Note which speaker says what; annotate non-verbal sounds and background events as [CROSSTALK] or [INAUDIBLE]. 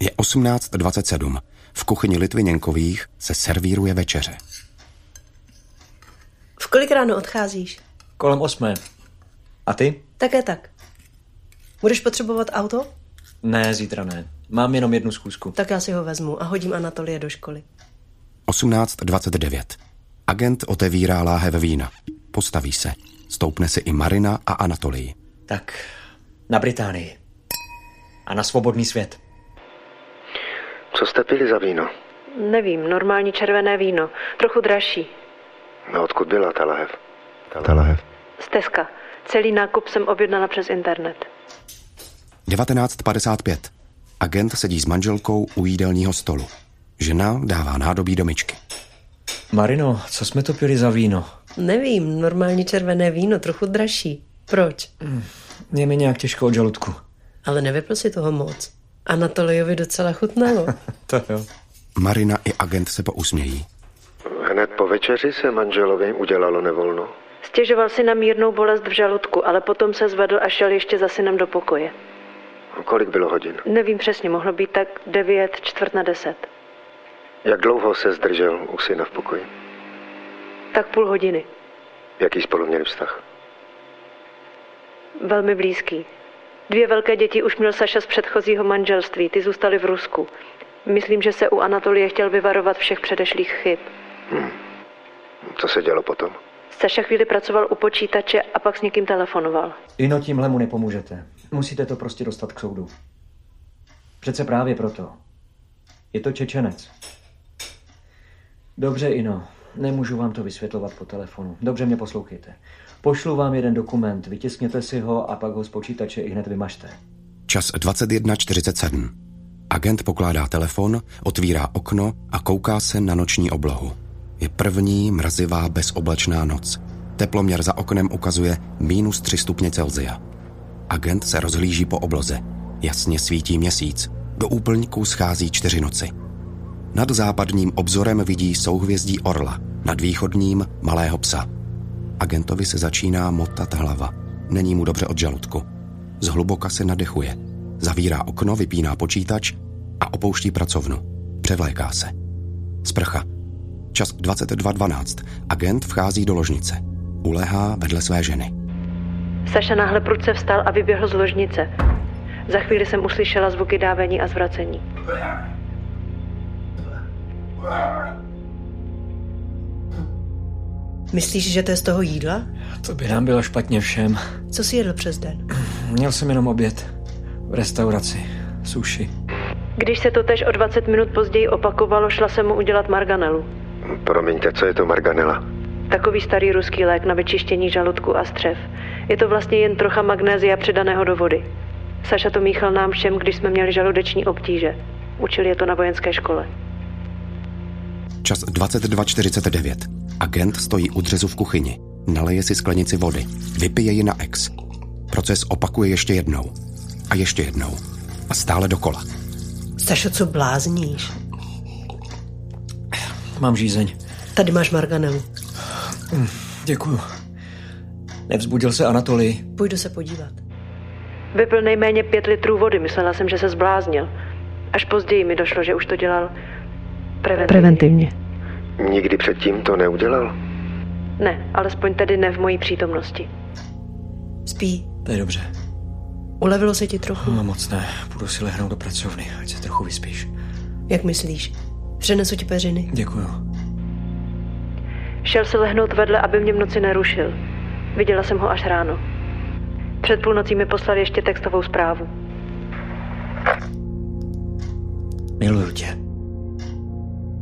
Speaker 1: Je 18.27. V kuchyni Litviněnkových se servíruje večeře.
Speaker 2: V kolik ráno odcházíš?
Speaker 3: Kolem osmé. A ty?
Speaker 2: Také tak. Budeš potřebovat auto?
Speaker 3: Ne, zítra ne. Mám jenom jednu zkusku.
Speaker 2: Tak já si ho vezmu a hodím Anatolie do školy.
Speaker 1: 18.29. Agent otevírá láhev vína. Postaví se. Stoupne si i Marina a Anatolii.
Speaker 3: Tak, na Británii. A na svobodný svět.
Speaker 4: Co jste pili za víno?
Speaker 5: Nevím, normální červené víno. Trochu dražší.
Speaker 4: No odkud byla ta lahev? Ta lahev.
Speaker 5: Stezka. Celý nákup jsem objednala přes internet.
Speaker 1: 19.55. Agent sedí s manželkou u jídelního stolu. Žena dává nádobí do myčky.
Speaker 3: Marino, co jsme to pili za víno?
Speaker 2: Nevím, normálně červené víno, trochu dražší. Proč?
Speaker 3: Je mi nějak těžko od žaludku.
Speaker 2: Ale nevypil si toho moc. Anatoliovi docela
Speaker 5: [LAUGHS]
Speaker 2: chutnalo.
Speaker 3: [LAUGHS] To jo.
Speaker 1: Marina i agent se pousmějí.
Speaker 4: Hned po večeři se manželovi udělalo nevolno.
Speaker 5: Stěžoval si na mírnou bolest v žaludku, ale potom se zvedl a šel ještě za synem do pokoje.
Speaker 4: Kolik bylo hodin?
Speaker 5: Nevím přesně, mohlo být tak 9, čtvrt na 10.
Speaker 4: Jak dlouho se zdržel u syna v pokoji?
Speaker 5: Tak půl hodiny.
Speaker 4: Jaký spolu měli vztah?
Speaker 5: Velmi blízký. Dvě velké děti už měl Saša z předchozího manželství, ty zůstaly v Rusku. Myslím, že se u Anatolie chtěl vyvarovat všech předešlých chyb.
Speaker 4: Co se dělo potom?
Speaker 5: Saša chvíli pracoval u počítače a pak s někým telefonoval.
Speaker 3: Ino, tímhle mu nepomůžete. Musíte to prostě dostat k soudu. Přece právě proto. Je to Čečenec. Dobře, Ino, nemůžu vám to vysvětlovat po telefonu. Dobře mě poslouchejte. Pošlu vám jeden dokument, vytiskněte si ho a pak ho z počítače i hned vymažte.
Speaker 1: Čas 21.47. Agent pokládá telefon, otvírá okno a kouká se na noční oblohu. Je první mrazivá bezoblačná noc. Teploměr za oknem ukazuje minus 3 stupně Celzia. Agent se rozhlíží po obloze. Jasně svítí měsíc. Do úplňků schází čtyři noci. Nad západním obzorem vidí souhvězdí orla, nad východním malého psa. Agentovi se začíná motat hlava. Není mu dobře od žaludku. Zhluboka se nadechuje. Zavírá okno, vypíná počítač a opouští pracovnu. Převléká se. Sprcha. Čas 22.12. Agent vchází do ložnice. Ulehá vedle své ženy.
Speaker 5: Saša náhle prudce vstal a vyběhl z ložnice. Za chvíli jsem uslyšela zvuky dávení a zvracení.
Speaker 2: Myslíš, že to je z toho jídla?
Speaker 3: To by nám bylo špatně všem.
Speaker 2: Co si jedl přes den?
Speaker 3: Měl jsem jenom oběd. V restauraci. Suši.
Speaker 5: Když se to tež o 20 minut později opakovalo, šla jsem mu udělat marganelu.
Speaker 4: Promiňte, co je to marganela?
Speaker 5: Takový starý ruský lék na vyčištění žaludku a střev. Je to vlastně jen trocha magnézia přidaného do vody. Saša to míchal nám všem, když jsme měli žaludeční obtíže. Učili je to na vojenské škole.
Speaker 1: Čas 22.49. Agent stojí u dřezu v kuchyni. Naleje si sklenici vody. Vypije ji na ex. Proces opakuje ještě jednou. A ještě jednou. A stále dokola.
Speaker 2: Sašo, co blázníš?
Speaker 3: Mám žízeň.
Speaker 2: Tady máš marganelu.
Speaker 3: Děkuju. Nevzbudil se Anatolii.
Speaker 2: Půjdu se podívat.
Speaker 5: Vypil nejméně pět litrů vody, myslela jsem, že se zbláznil. Až později mi došlo, že už to dělal preventivně.
Speaker 2: Preventivně.
Speaker 4: Nikdy předtím to neudělal?
Speaker 5: Ne, alespoň tedy ne v mojí přítomnosti.
Speaker 2: Spí.
Speaker 3: To je dobře.
Speaker 2: Ulevilo se ti trochu?
Speaker 3: No, moc ne. Půjdu si lehnout do pracovny, ať se trochu vyspíš.
Speaker 2: Jak myslíš? Přenesu ti peřiny.
Speaker 3: Děkuju.
Speaker 5: Šel se lehnout vedle, aby mě v noci nerušil. Viděla jsem ho až ráno. Před půlnocí mi poslal ještě textovou zprávu.
Speaker 3: Miluju tě.